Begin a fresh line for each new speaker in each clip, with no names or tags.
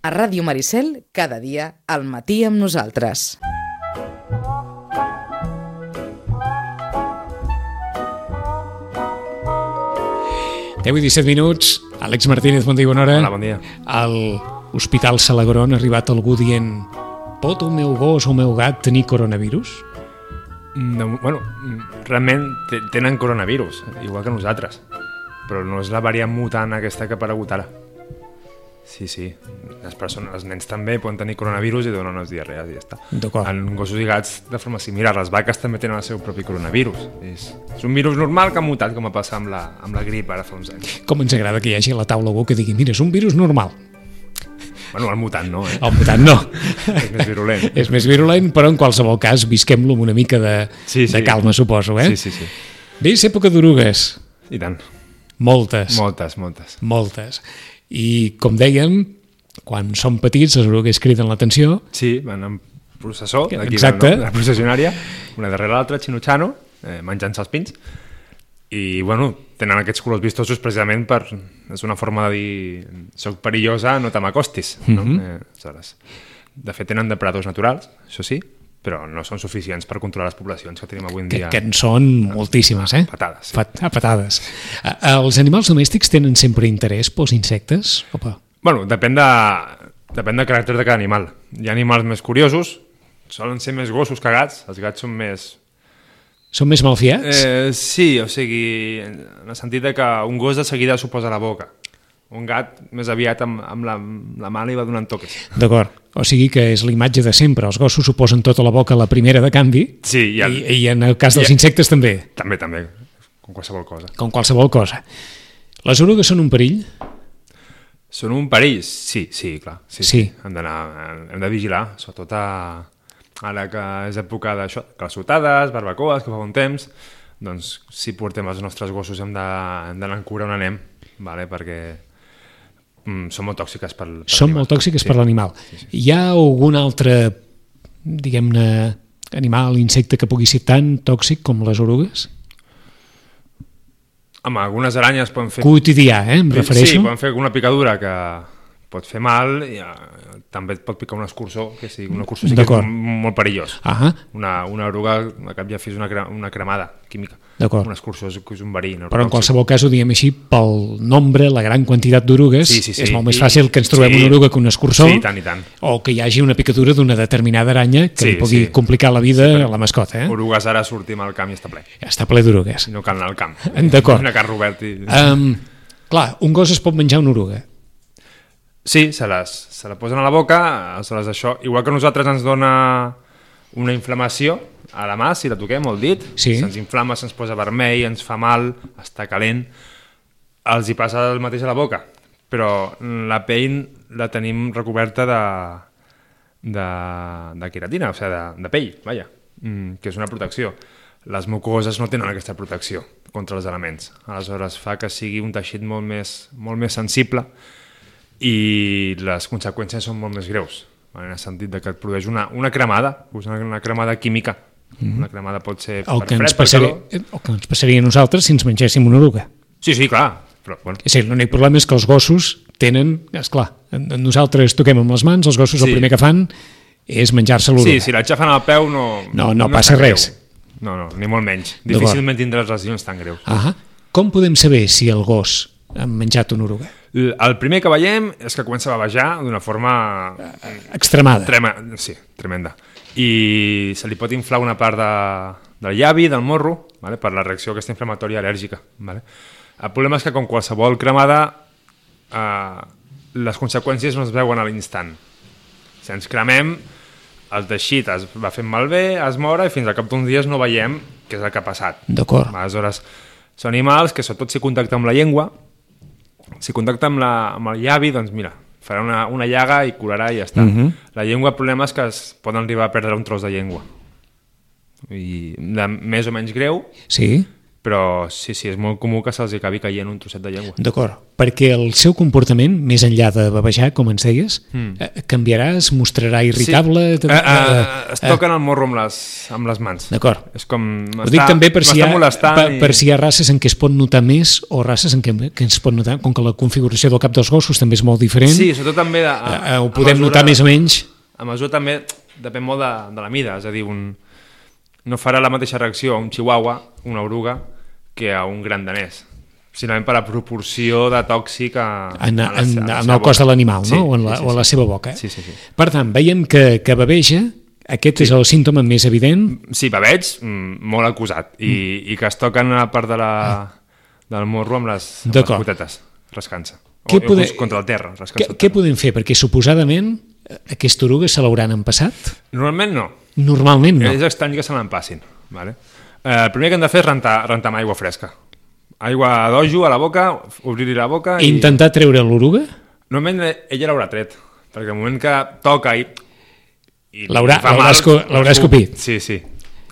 A Ràdio Maricel, cada dia, al matí amb nosaltres.
Deu i 17 minuts, Àlex Martínez, bon dia i bona hora.
Hola, bon dia.
Al Hospital Salagron ha arribat algú dient pot el meu gos o el meu gat tenir coronavirus?
No, bueno, realment te- tenen coronavirus, igual que nosaltres. Però no és la variant mutant aquesta que ha aparegut ara. Sí, sí. Les persones, els nens també poden tenir coronavirus i donen unes diarrees i ja està.
D'acord.
En gossos i gats de forma similar. Les vaques també tenen el seu propi coronavirus. És, és un virus normal que ha mutat com va passar amb la, amb la grip ara fa uns anys.
Com ens agrada que hi hagi a la taula algú que digui mira, és un virus normal.
Bueno, el mutant no, eh?
El mutant no.
És més virulent.
És més virulent, però en qualsevol cas visquem-lo amb una mica de,
Sí, sí.
de calma, suposo. Eh?
Sí, sí, sí.
Bé, és època d'orugues.
I tant.
Moltes.
Moltes, moltes.
Moltes. I, com dèiem, quan són petits, les orugues criden l'atenció.
Sí, van en processó, d'aquí
Exacte.
de, la processionària, una darrere l'altra, xinutxano, eh, menjant-se els pins, i, bueno, tenen aquests colors vistosos precisament per... És una forma de dir, soc perillosa, no te m'acostis, no?
Mhm.
Eh, aleshores, de fet, tenen depredadors naturals, això sí, però no són suficients per controlar les poblacions que tenim avui en
Que,
dia.
que en són moltíssimes, eh?
Patades, sí.
Pat, a patades. A, els animals domèstics tenen sempre interès pels insectes? Opa.
Bueno, depèn, de, depèn del caràcter de cada animal. Hi ha animals més curiosos, solen ser més gossos que gats, els gats són més
Són més malfiats? Eh...
Eh, sí, o sigui, en el sentit de que un gos de seguida s'ho posa a la boca. Un gat més aviat amb, amb la, amb la mà li va donant toques.
D'acord. O sigui que és la imatge de sempre. Els gossos s'ho posen tota la boca a la primera de canvi
Sí,
i,
i, el, I,
i en el cas dels
i-
insectes també,
també, també, com qualsevol cosa.
com qualsevol cosa. Les orugues són un perill?
Són un perill? Sí, sí, clar. Sí,
Sí.
Hem, d'anar, hem de vigilar, sobretot a, ara que és època d'això, calçotades, barbacoes, que fa bon temps, doncs si portem els nostres gossos hem de- hem d'anar en cura on anem, vale? perquè mm, són molt tòxiques per, per
Són
animals.
molt tòxiques sí. per l'animal. Hi ha algun altre, diguem-ne, animal, insecte que pugui ser tan tòxic com les orugues?
Home, algunes aranyes poden fer...
Quotidià, eh? Em refereixo.
Sí, poden fer una picadura que pot fer mal i eh, també et pot picar un escurçó, que sí, un escurçó sí que és
D'acord.
m- molt perillós.
Ah,
Una, una oruga, a cap ja fes una, cre una cremada química.
D'acord.
Un escurçó és, és un verí.
però en qualsevol cas ho diem així, pel nombre, la gran quantitat d'orugues,
Sí, sí, sí.
és molt més
I-
fàcil que ens trobem
sí.
una oruga que un escurçó,
Sí, i tant, i tant.
o que hi hagi una picadura d'una determinada aranya que
Sí,
li pugui
sí.
complicar la vida a la mascota. Eh?
Orugues ara sortim al camp i està ple.
Està ple d'orugues.
Si no cal anar al camp.
D'acord.
Una carro obert i...
Um, clar, un gos es pot menjar una oruga.
Sí, se les, se la posen a la boca, aleshores això, igual que a nosaltres ens dona una inflamació a la mà, si la toquem, o el dit,
Sí.
se'ns inflama, se'ns posa vermell, ens fa mal, està calent, els hi passa el mateix a la boca, però la pell la tenim recoberta de, de, de queratina, o sigui, de, de pell, vaja, mm, que és una protecció. Les mucoses no tenen aquesta protecció contra els elements. Aleshores fa que sigui un teixit molt més, molt més sensible i les conseqüències són molt més greus en el sentit de que et produeix una, una cremada pues una, una cremada química
Mm-hmm.
una cremada pot ser
El
per
que,
fred,
ens
per
passaria,
calor
el que ens passaria a nosaltres si ens mengéssim una oruga.
sí, sí, clar però, bueno,
És a dir, l'únic problema és que els gossos tenen, és clar, nosaltres toquem amb les mans, els gossos sí. el
Sí.
primer que fan és menjar-se l'oruga.
sí, si la xafen al peu no,
No, no passa
és greu.
res.
no, no, ni molt menys
D'acord.
difícilment tindràs lesions tan greus
Ah, com podem saber si el gos ha menjat una oruga?
L- el primer que veiem és que comença a bavejar d'una forma
Extremada.
trema, sí, tremenda i se li pot inflar una part de, del llavi, del morro vale? per la reacció aquesta inflamatòria al·lèrgica vale? el problema és que com qualsevol cremada eh, les conseqüències no es veuen a l'instant si ens cremem el teixit es va fent malbé, es mora i fins al cap d'uns dies no veiem què és el que ha passat
D'acord.
Aleshores, són animals que, sobretot si contacta amb la llengua, si contacta amb, la, amb el llavi, doncs mira, farà una, una llaga i curarà i ja està. La llengua, el problema és que es poden arribar a perdre un tros de llengua. I de més o menys greu,
Sí?
Però sí, sí, és molt comú que se'ls acabi caient un trosset de llengua.
D'acord, perquè el seu comportament, més enllà de babejar, com ens deies, mm. canviarà, es mostrarà irritable...
Hmm. Sí. Eh, eh, es toquen el morro amb les, amb les mans.
D'acord.
És com...
Ho dic també per si, hi ha, per,
i...
per si hi ha races en què es pot notar més o races en què, que ens pot notar, com que la configuració del cap dels gossos també és molt diferent,
Sí, Ah, sobretot també... De,
eh, eh, ho podem notar més o menys.
A mesura també depèn molt de, de la mida, és a dir, un, no farà la mateixa reacció a un chihuahua, una oruga, que a un gran danès. Simplement per la proporció de tòxic a,
en,
a la,
en,
a la
en
seva
el cos
boca.
de l'animal,
Sí,
no? O en la,
sí, sí,
o a la seva boca. eh?
Sí, sí, sí.
Per tant, veiem que, que babeja, aquest sí. és el símptoma més evident,
Sí, babeig, mm, molt acusat. I,
Mm.
i que es toquen a la part de la, del morro amb les, amb les
Ah. D'acord.
gotetes, rascant-se. O,
Què
o
poder-
contra el terra, rascant-se.
Què,
el
què
terra.
podem fer? Perquè suposadament eh, aquesta oruga se l'hauran empassat.
Normalment no.
Normalment
no.
no.
És estrany que se l'empassin. Vale? Eh, el primer que hem de fer és rentar, rentar amb aigua fresca. Aigua d'ojo a la boca, obrir-li la boca i...
Intentar treure l'oruga?
Normalment eh, ella l'haurà tret, perquè el moment que toca i... i
L'haurà-
li fa
l'haurà
mal,
escu- l'haurà
escup.
escopit.
Sí, sí.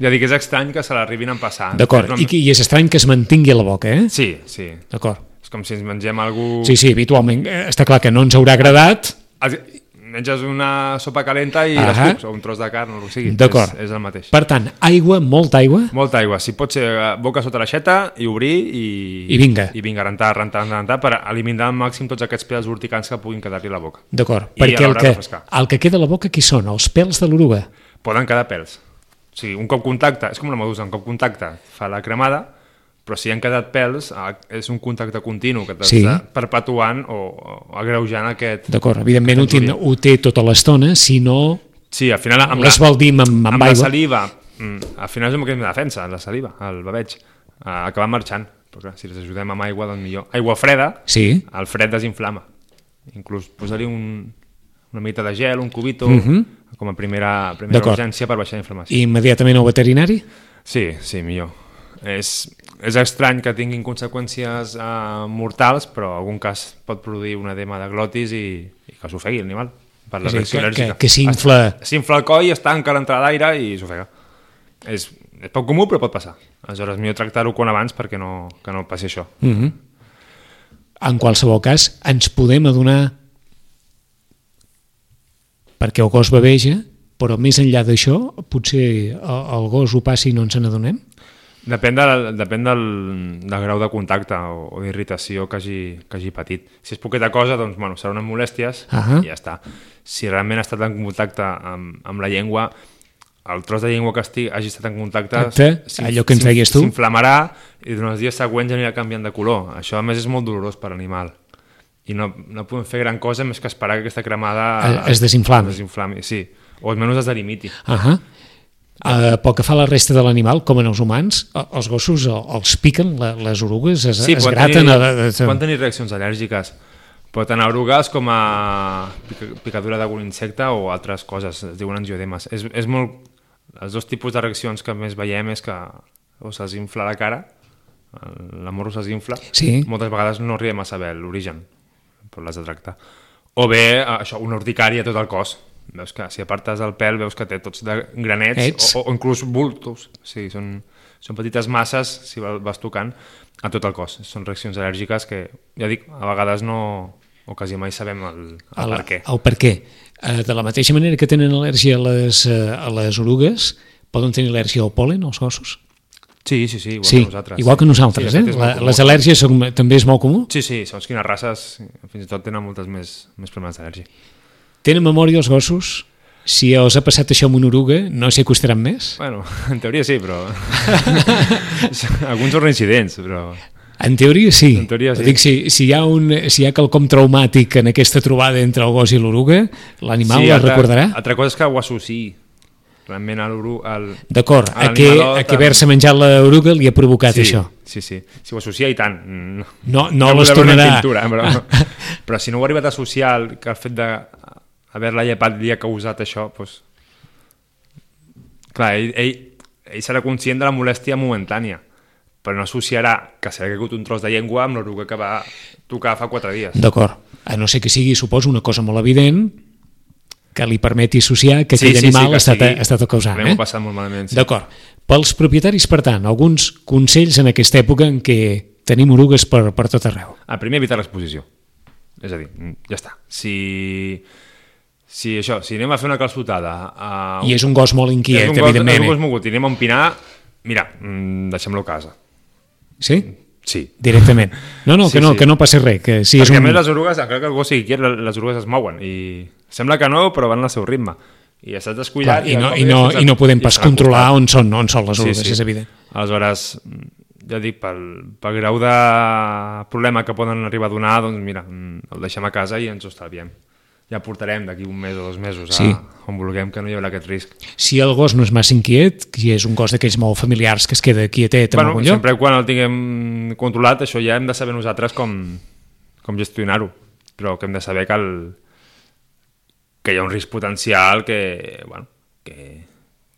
Ja dic, és estrany que se l'arribin a empassar.
D'acord.
Ah, No,
I, I és estrany que es mantingui a la boca, eh?
Sí, sí.
D'acord.
És com si ens mengem algú...
Sí, sí, habitualment. eh, Està clar que no ens haurà agradat.
Els- Menges una sopa calenta i
Ahà.
les cucs, o un tros de carn, o el que sigui.
D'acord.
És, és el mateix.
Per tant, aigua, molta aigua.
Molta aigua. Si pot ser eh, boca sota l'aixeta i obrir i...
I vinga.
I vinga, rentar, rentar, rentar, rentar per eliminar al màxim tots aquests pèls urticants que puguin quedar-li a la boca.
D'acord.
I
Perquè el
alhora
que,
refrescar.
el que queda a la boca, qui són? Els pèls de l'oruga.
Poden quedar pèls. O sigui, un cop contacte, és com la medusa, un cop contacte fa la cremada, però si han quedat pèls, ah, és un contacte continu que t'està
Sí.
perpetuant o, o agreujant aquest...
D'acord. Evidentment ho, tind, ho té tota l'estona, si no
Sí, al final... Amb
l'esbaldim amb, amb
la
aigua.
saliva, mm, al final és un mecanisme de defensa, la saliva, el babeig, uh, acabar marxant. Però clar, si els ajudem amb aigua, doncs millor. Aigua freda,
Sí.
el fred desinflama. Inclús posar-hi un, una mica de gel, un cubito, mm -hmm. com a primera,
Mhm.
primera
D'acord.
urgència per baixar la inflamació.
I immediatament al veterinari?
Sí, sí, millor. És, és estrany que tinguin conseqüències eh, mortals, però en algun cas pot produir una edema de glotis i, i que s'ofegui l'animal per la
És a dir,
reacció Ah,
que- que-
al·lèrgica.
que s'infla.
Es- S'infla el coll, està encara entrada d'aire i s'ofega. És, és poc comú, però pot passar. Aleshores, millor tractar-ho quan abans perquè no, que no passi això. Mm.
Mhm. en qualsevol cas, ens podem adonar perquè el gos baveja, però més enllà d'això, potser el, el gos ho passi i no ens n'adonem?
Depèn, de, depèn del, del grau de contacte o, o d'irritació que, hagi, que hagi patit. Si és poqueta cosa, doncs, bueno, seran unes molèsties
Ahà.
i ja està. Si realment ha estat en contacte amb, amb la llengua, el tros de llengua que estigui, hagi estat en contacte...
Exacte,
s'in-
allò que ens
s'in-
deies tu.
S'inflamarà i durant els dies següents anirà canviant de color. Això, a més, és molt dolorós per l'animal. I no, no podem fer gran cosa més que esperar que aquesta cremada...
Es- es desinflami.
Es desinflami, sí. O almenys es delimiti.
Ahà. Uh, pel que fa a la resta de l'animal, com en els humans, eh, els gossos eh, els piquen la, les orugues, es,
Sí,
eh? es
poden
graten...
tenir,
a- a- a-
poden tenir reaccions al·lèrgiques. Pot anar a orugues com a pica- picadura d'algun insecte o altres coses, es diuen angiodemes. És, és molt... Els dos tipus de reaccions que més veiem és que o se'ls infla la cara, el- la morro se'ls infla,
Sí.
moltes vegades no arribem a saber l'origen, però l'has de tractar. O bé, eh, això, una urticària a tot el cos. Veus que si apartes el pèl veus que té tots de granets
Ets.
o, o inclús bultos. Sí, són, són petites masses, si va- vas tocant, a tot el cos. Són reaccions al·lèrgiques que, ja dic, a vegades no o quasi mai sabem el, el, el per què.
El per què. Eh, De la mateixa manera que tenen al·lèrgia a les, eh, a les orugues, poden tenir al·lèrgia al pol·len, els gossos?
Sí, sí, sí, igual
sí,
que nosaltres.
igual que nosaltres.
Sí, de fet,
eh?
és
la,
molt comú.
les al·lèrgies són, també és molt comú?
Sí, sí, segons quines races, fins i tot tenen moltes més, més problemes d'al·lèrgia.
Tenen memòria els gossos? Si els ha passat això amb una oruga, no s'hi acostaran més?
Bueno, en teoria sí, però... Alguns són reincidents, però...
En teoria sí.
En teoria, sí.
Però Dic, si, si, hi ha un, si hi ha quelcom traumàtic en aquesta trobada entre el gos i l'oruga, l'animal sí, la
altra-
recordarà?
Altra cosa és que ho associï realment a l'oru... Al...
D'acord, a,
a
que,
l'animalot,
a que
a-
haver-se menjat l'oruga li ha provocat
Sí,
això.
sí, sí. Si ho associa i tant... mm,
No- no
vull
les
veure una
tornarà.
Pintura, però, però si no ho ha arribat a associar el, que el fet de haver-la llepat li ha causat això, doncs... Clar, ell, ell, ell serà conscient de la molèstia momentània, però no associarà que s'ha caigut un tros de llengua amb l'oruga que va tocar fa quatre dies.
D'acord. A no ser que sigui, suposo, una cosa molt evident que li permeti associar que aquell animal ha, estat, ha estat el causant.
L'hem
Eh?
passat molt malament, sí.
D'acord. Pels propietaris, per tant, alguns consells en aquesta època en què tenim orugues per, per tot arreu.
El primer, evitar l'exposició. És a dir, mm, ja està. Si, si això, si anem a fer una calçotada... A
I és un gos molt inquiet,
un gos-
evidentment.
És un gos
eh?
mogut i anem a empinar, mira, mm, deixem-lo a casa.
Sí?
Sí.
Directament. No, no,
Sí,
que no,
sí.
que no passi res. Que si és
Perquè a
un...
més les orugues, encara que el gos sigui quiet, le- les orugues es mouen i sembla que no, però van al seu ritme. I estàs
Clar,
descuidat...
i,
de
no,
cop
i, no,
estàs-
I no podem
i
pas
estan al
controlar
costat.
on són, on són les orugues, és evident.
Aleshores, ja dic, pel, pel grau de problema que poden arribar a donar, doncs mira, mm, el deixem a casa i ens ho estalviem. Ja portarem d'aquí un mes o dos mesos a,
Sí.
on vulguem que no hi haurà aquest risc.
Si el gos no és massa inquiet, que és un gos d'aquells molt familiars que es queda quietet en
bueno,
algun lloc,
sempre quan el tinguem controlat, això ja hem de saber nosaltres com, com gestionar-ho. Però que hem de saber que, el, que hi ha un risc potencial que, bueno, que,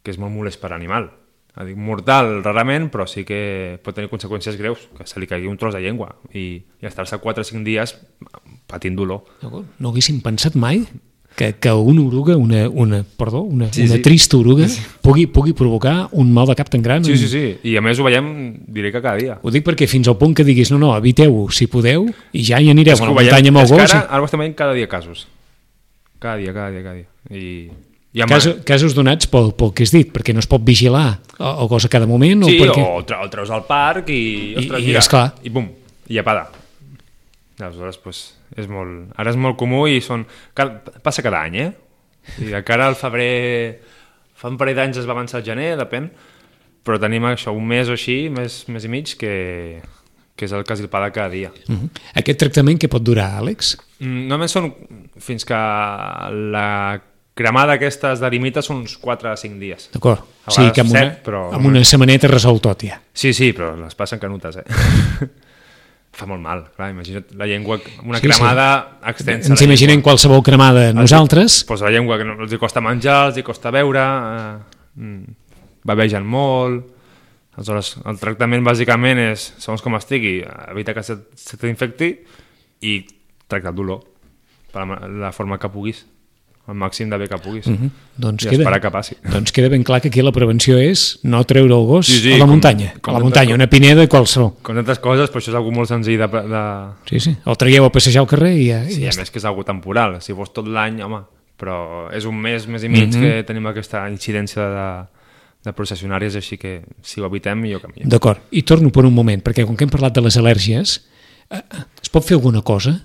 que és molt molest per animal. A dir, mortal rarament, però sí que pot tenir conseqüències greus, que se li caigui un tros de llengua i, i estar-se 4 o 5 dies patint dolor.
No, no haguéssim pensat mai que, que una oruga, una, una, perdó, una, sí,
Sí,
una sí.
sí.
trista oruga sí, sí. Pugui, pugui provocar un mal de cap tan gran.
Sí, sí, sí. I a més ho veiem, diré que cada dia.
Ho dic perquè fins al punt que diguis no, no, eviteu-ho si podeu i ja hi anireu
És
a
que
la
ho veiem,
muntanya amb el
és que
gos. eh,
Ara, ara ho estem veient cada dia casos. Cada dia, cada dia, cada dia. I, i amb-
Casos, casos donats pel, pel que has dit, perquè no es pot vigilar el, el gos a cada moment.
Sí,
o perquè...
o, tre el treus al parc i... Ostres,
i
mira,
esclar.
I bum, i apada. Aleshores, doncs, és molt... Ara és molt comú i són... Cada... Passa cada any, eh? I de cara al febrer... Fa un parell d'anys es va avançar al gener, depèn, però tenim això, un mes o així, més, més i mig, que, que és el que esgripada cada dia.
Mhm. Aquest tractament que pot durar, Àlex?
Mm, Només són fins que la cremada aquesta es delimita són uns 4 a 5 dies.
D'acord.
A
O sigui que
vegades
amb una,
set, però-
amb una setmaneta resol tot ja.
Sí, sí, però les passen canutes, eh? Fa molt mal, clar, imagina't la llengua, una
Sí,
sí,
sí.
cremada sí. extensa.
Ens imaginem qualsevol cremada nosaltres.
Pues doncs la llengua que no, els hi costa menjar, els hi costa beure, eh, mm, bevegen molt... Aleshores, el tractament bàsicament és, segons com estigui, evita que se, se t'infecti i tracta el dolor per la, la forma que puguis, el màxim de bé que puguis. Mm
Doncs
I
queda,
esperar que passi.
Doncs queda ben clar que aquí la prevenció és no treure el gos sí,
Sí,
sí,
sí,
a la
com-
muntanya. Com,
com
com a la
tantes
muntanya,
coses.
una pineda qualsevol.
Com tantes coses, però això és algú molt senzill de, de,
Sí, sí. El traieu a passejar al carrer i ja, sí,
Sí,
ja
a
està.
més que és algo temporal, si fos tot l'any, home, però és un mes, mes i mig mm -hmm.
Mhm.
que tenim aquesta incidència de, de processionàries, així que si ho evitem, millor que millor.
D'acord. I torno per un moment, perquè com que hem parlat de les al·lèrgies, eh, es pot fer alguna cosa?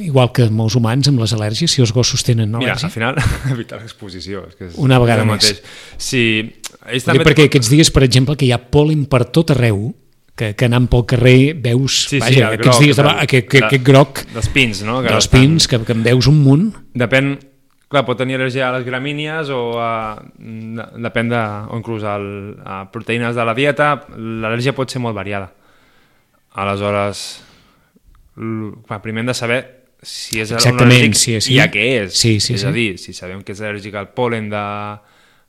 Igual que amb els humans, amb les al·lèrgies, si els gossos tenen
Mira,
al·lèrgia?
al final, evitar l'exposició. És que és
Una vegada
el
més.
mateix. Sí, ells
També...
també...
Perquè aquests dies, per exemple, que hi ha pol·len per tot arreu, que, que anant pel carrer veus,
Sí, sí,
vaja,
el
aquests
groc,
dies, de...
del-
aquest, aquest,
de-
aquest groc
Dels pins, no? Que
dels
estan-
pins, que, que en veus un munt,
Depèn, clar, pot tenir al·lèrgia a les gramínies o a, mm, depèn de, o inclús al, a proteïnes de la dieta, l'al·lèrgia pot ser molt variada. Aleshores, l- clar, primer hem de saber si és
Exactament,
un al·lèrgic
sí, sí.
i a què és.
Sí, sí,
és
sí.
a dir, si sabem que és al·lèrgic al polen de,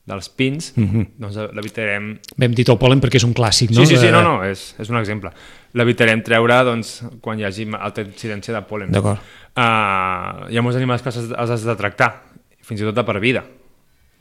dels pins, uh -huh. doncs l'evitarem
vam dit el pol·len perquè és un clàssic,
no?
Mhm. no?
Sí, sí, sí,
De-
no, no, és, és un exemple. L'evitarem treure doncs, quan hi hagi alta incidència de pol·len.
D'acord.
Uh, hi ha molts animals que els, has- els has de tractar, fins i tot de per vida,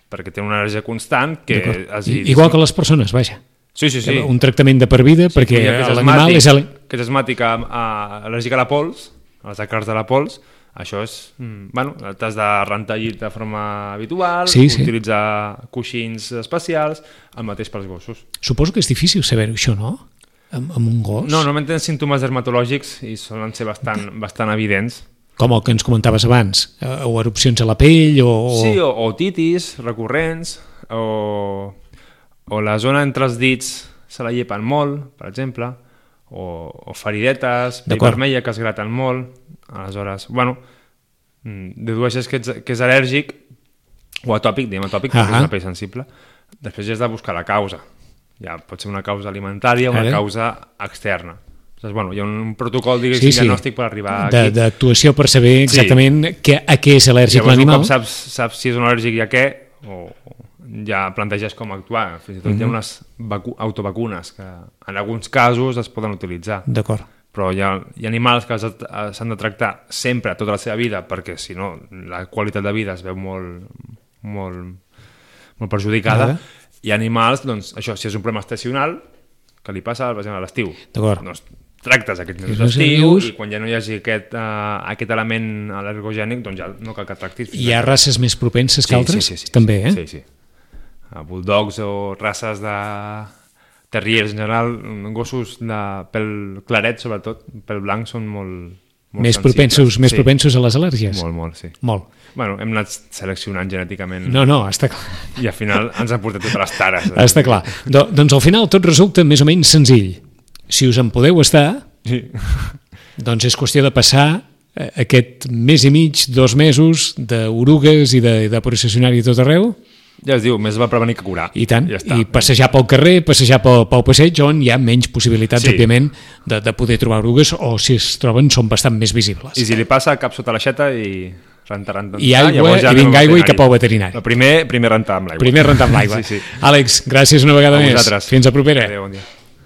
perquè tenen una energia constant que... has
I,
dit-
igual que les persones, vaja.
Sí, sí, sí.
Sí. Un tractament de per vida, sí, perquè
Hi ha que
l'animal és... El...
asmàtic, Que és asmàtic, a, a, al·lèrgic a la pols, als acars de la pols, això és... Mm, bueno, t'has de rentar llit de forma habitual,
Sí, sí.
utilitzar coixins especials, el mateix pels gossos.
Suposo que és difícil saber això, no? Amb, amb un gos?
No, normalment tenen símptomes dermatològics i solen ser bastant, bastant evidents.
Com el que ens comentaves abans, eh, o erupcions a la pell, o... o...
Sí, o, o titis recurrents, o, o la zona entre els dits se la llepen molt, per exemple, o, o feridetes, pell
D'acord.
vermella que es graten molt. Aleshores, bueno, mm, dedueixes que, ets, que és al·lèrgic o atòpic, diguem atòpic, perquè
Ahà.
és una pell sensible. Després ja has de buscar la causa. Ja pot ser una causa alimentària, una
Ara.
causa externa. Aleshores, bueno, hi ha un protocol, diguéssim,
Sí, sí.
diagnòstic per arribar
de-
aquí.
D'actuació per saber
Sí.
exactament que, a què és al·lèrgic
Llavors, un
l'animal.
cop saps, saps si és un al·lèrgic i a què, o o ja planteges com actuar. Fins i tot mm -hmm. hi ha unes vacu autovacunes que en alguns casos es poden utilitzar.
D'acord.
Però hi ha, hi ha animals que els ha- s'han de tractar sempre, tota la seva vida, perquè si no la qualitat de vida es veu molt, molt, molt perjudicada.
Ara.
Ah. Hi ha animals, doncs, això, si és un problema estacional, que li passa, per exemple, a l'estiu.
D'acord.
Doncs tractes aquests mesos
mesos
d'estiu
estius.
i quan ja no hi hagi aquest, uh, aquest element al·lergogènic, doncs ja no cal que tractis. fins
Hi ha races més propenses que altres?
Sí, sí, sí, sí,
També, eh?
Sí, sí. Uh, bulldogs o races de terriers en general, mm, gossos de pel claret sobretot, pel blanc són molt, molt
Més
sensibles.
propensos, més
sí.
propensos a les al·lèrgies?
Molt, molt, sí.
Molt.
Bueno, hem anat seleccionant genèticament no.
No, no, està clar.
i al final ens han portat totes les tares. Eh?
Està clar. Do, doncs al final tot resulta més o menys senzill. Si us en podeu estar,
Sí.
doncs és qüestió de passar eh, aquest mes i mig, dos mesos d'orugues i de, de processionari a tot arreu,
Ja es diu, més val prevenir que curar.
i tant,
Ja està.
i passejar pel carrer, passejar pel, pel passeig, on hi ha menys possibilitats,
Sí.
sí. òbviament, de, de poder trobar orugues, o si es troben són bastant més visibles.
I si li passa, cap sota l'aixeta i Ah, rentar, rentar,
I aigua, i vinga aigua i cap al veterinari.
El primer, primer rentar amb l'aigua.
Primer rentar amb l'aigua.
Sí, sí.
Àlex, gràcies una vegada
A
més.
vosaltres.
Fins a propera.
Adéu, bon dia.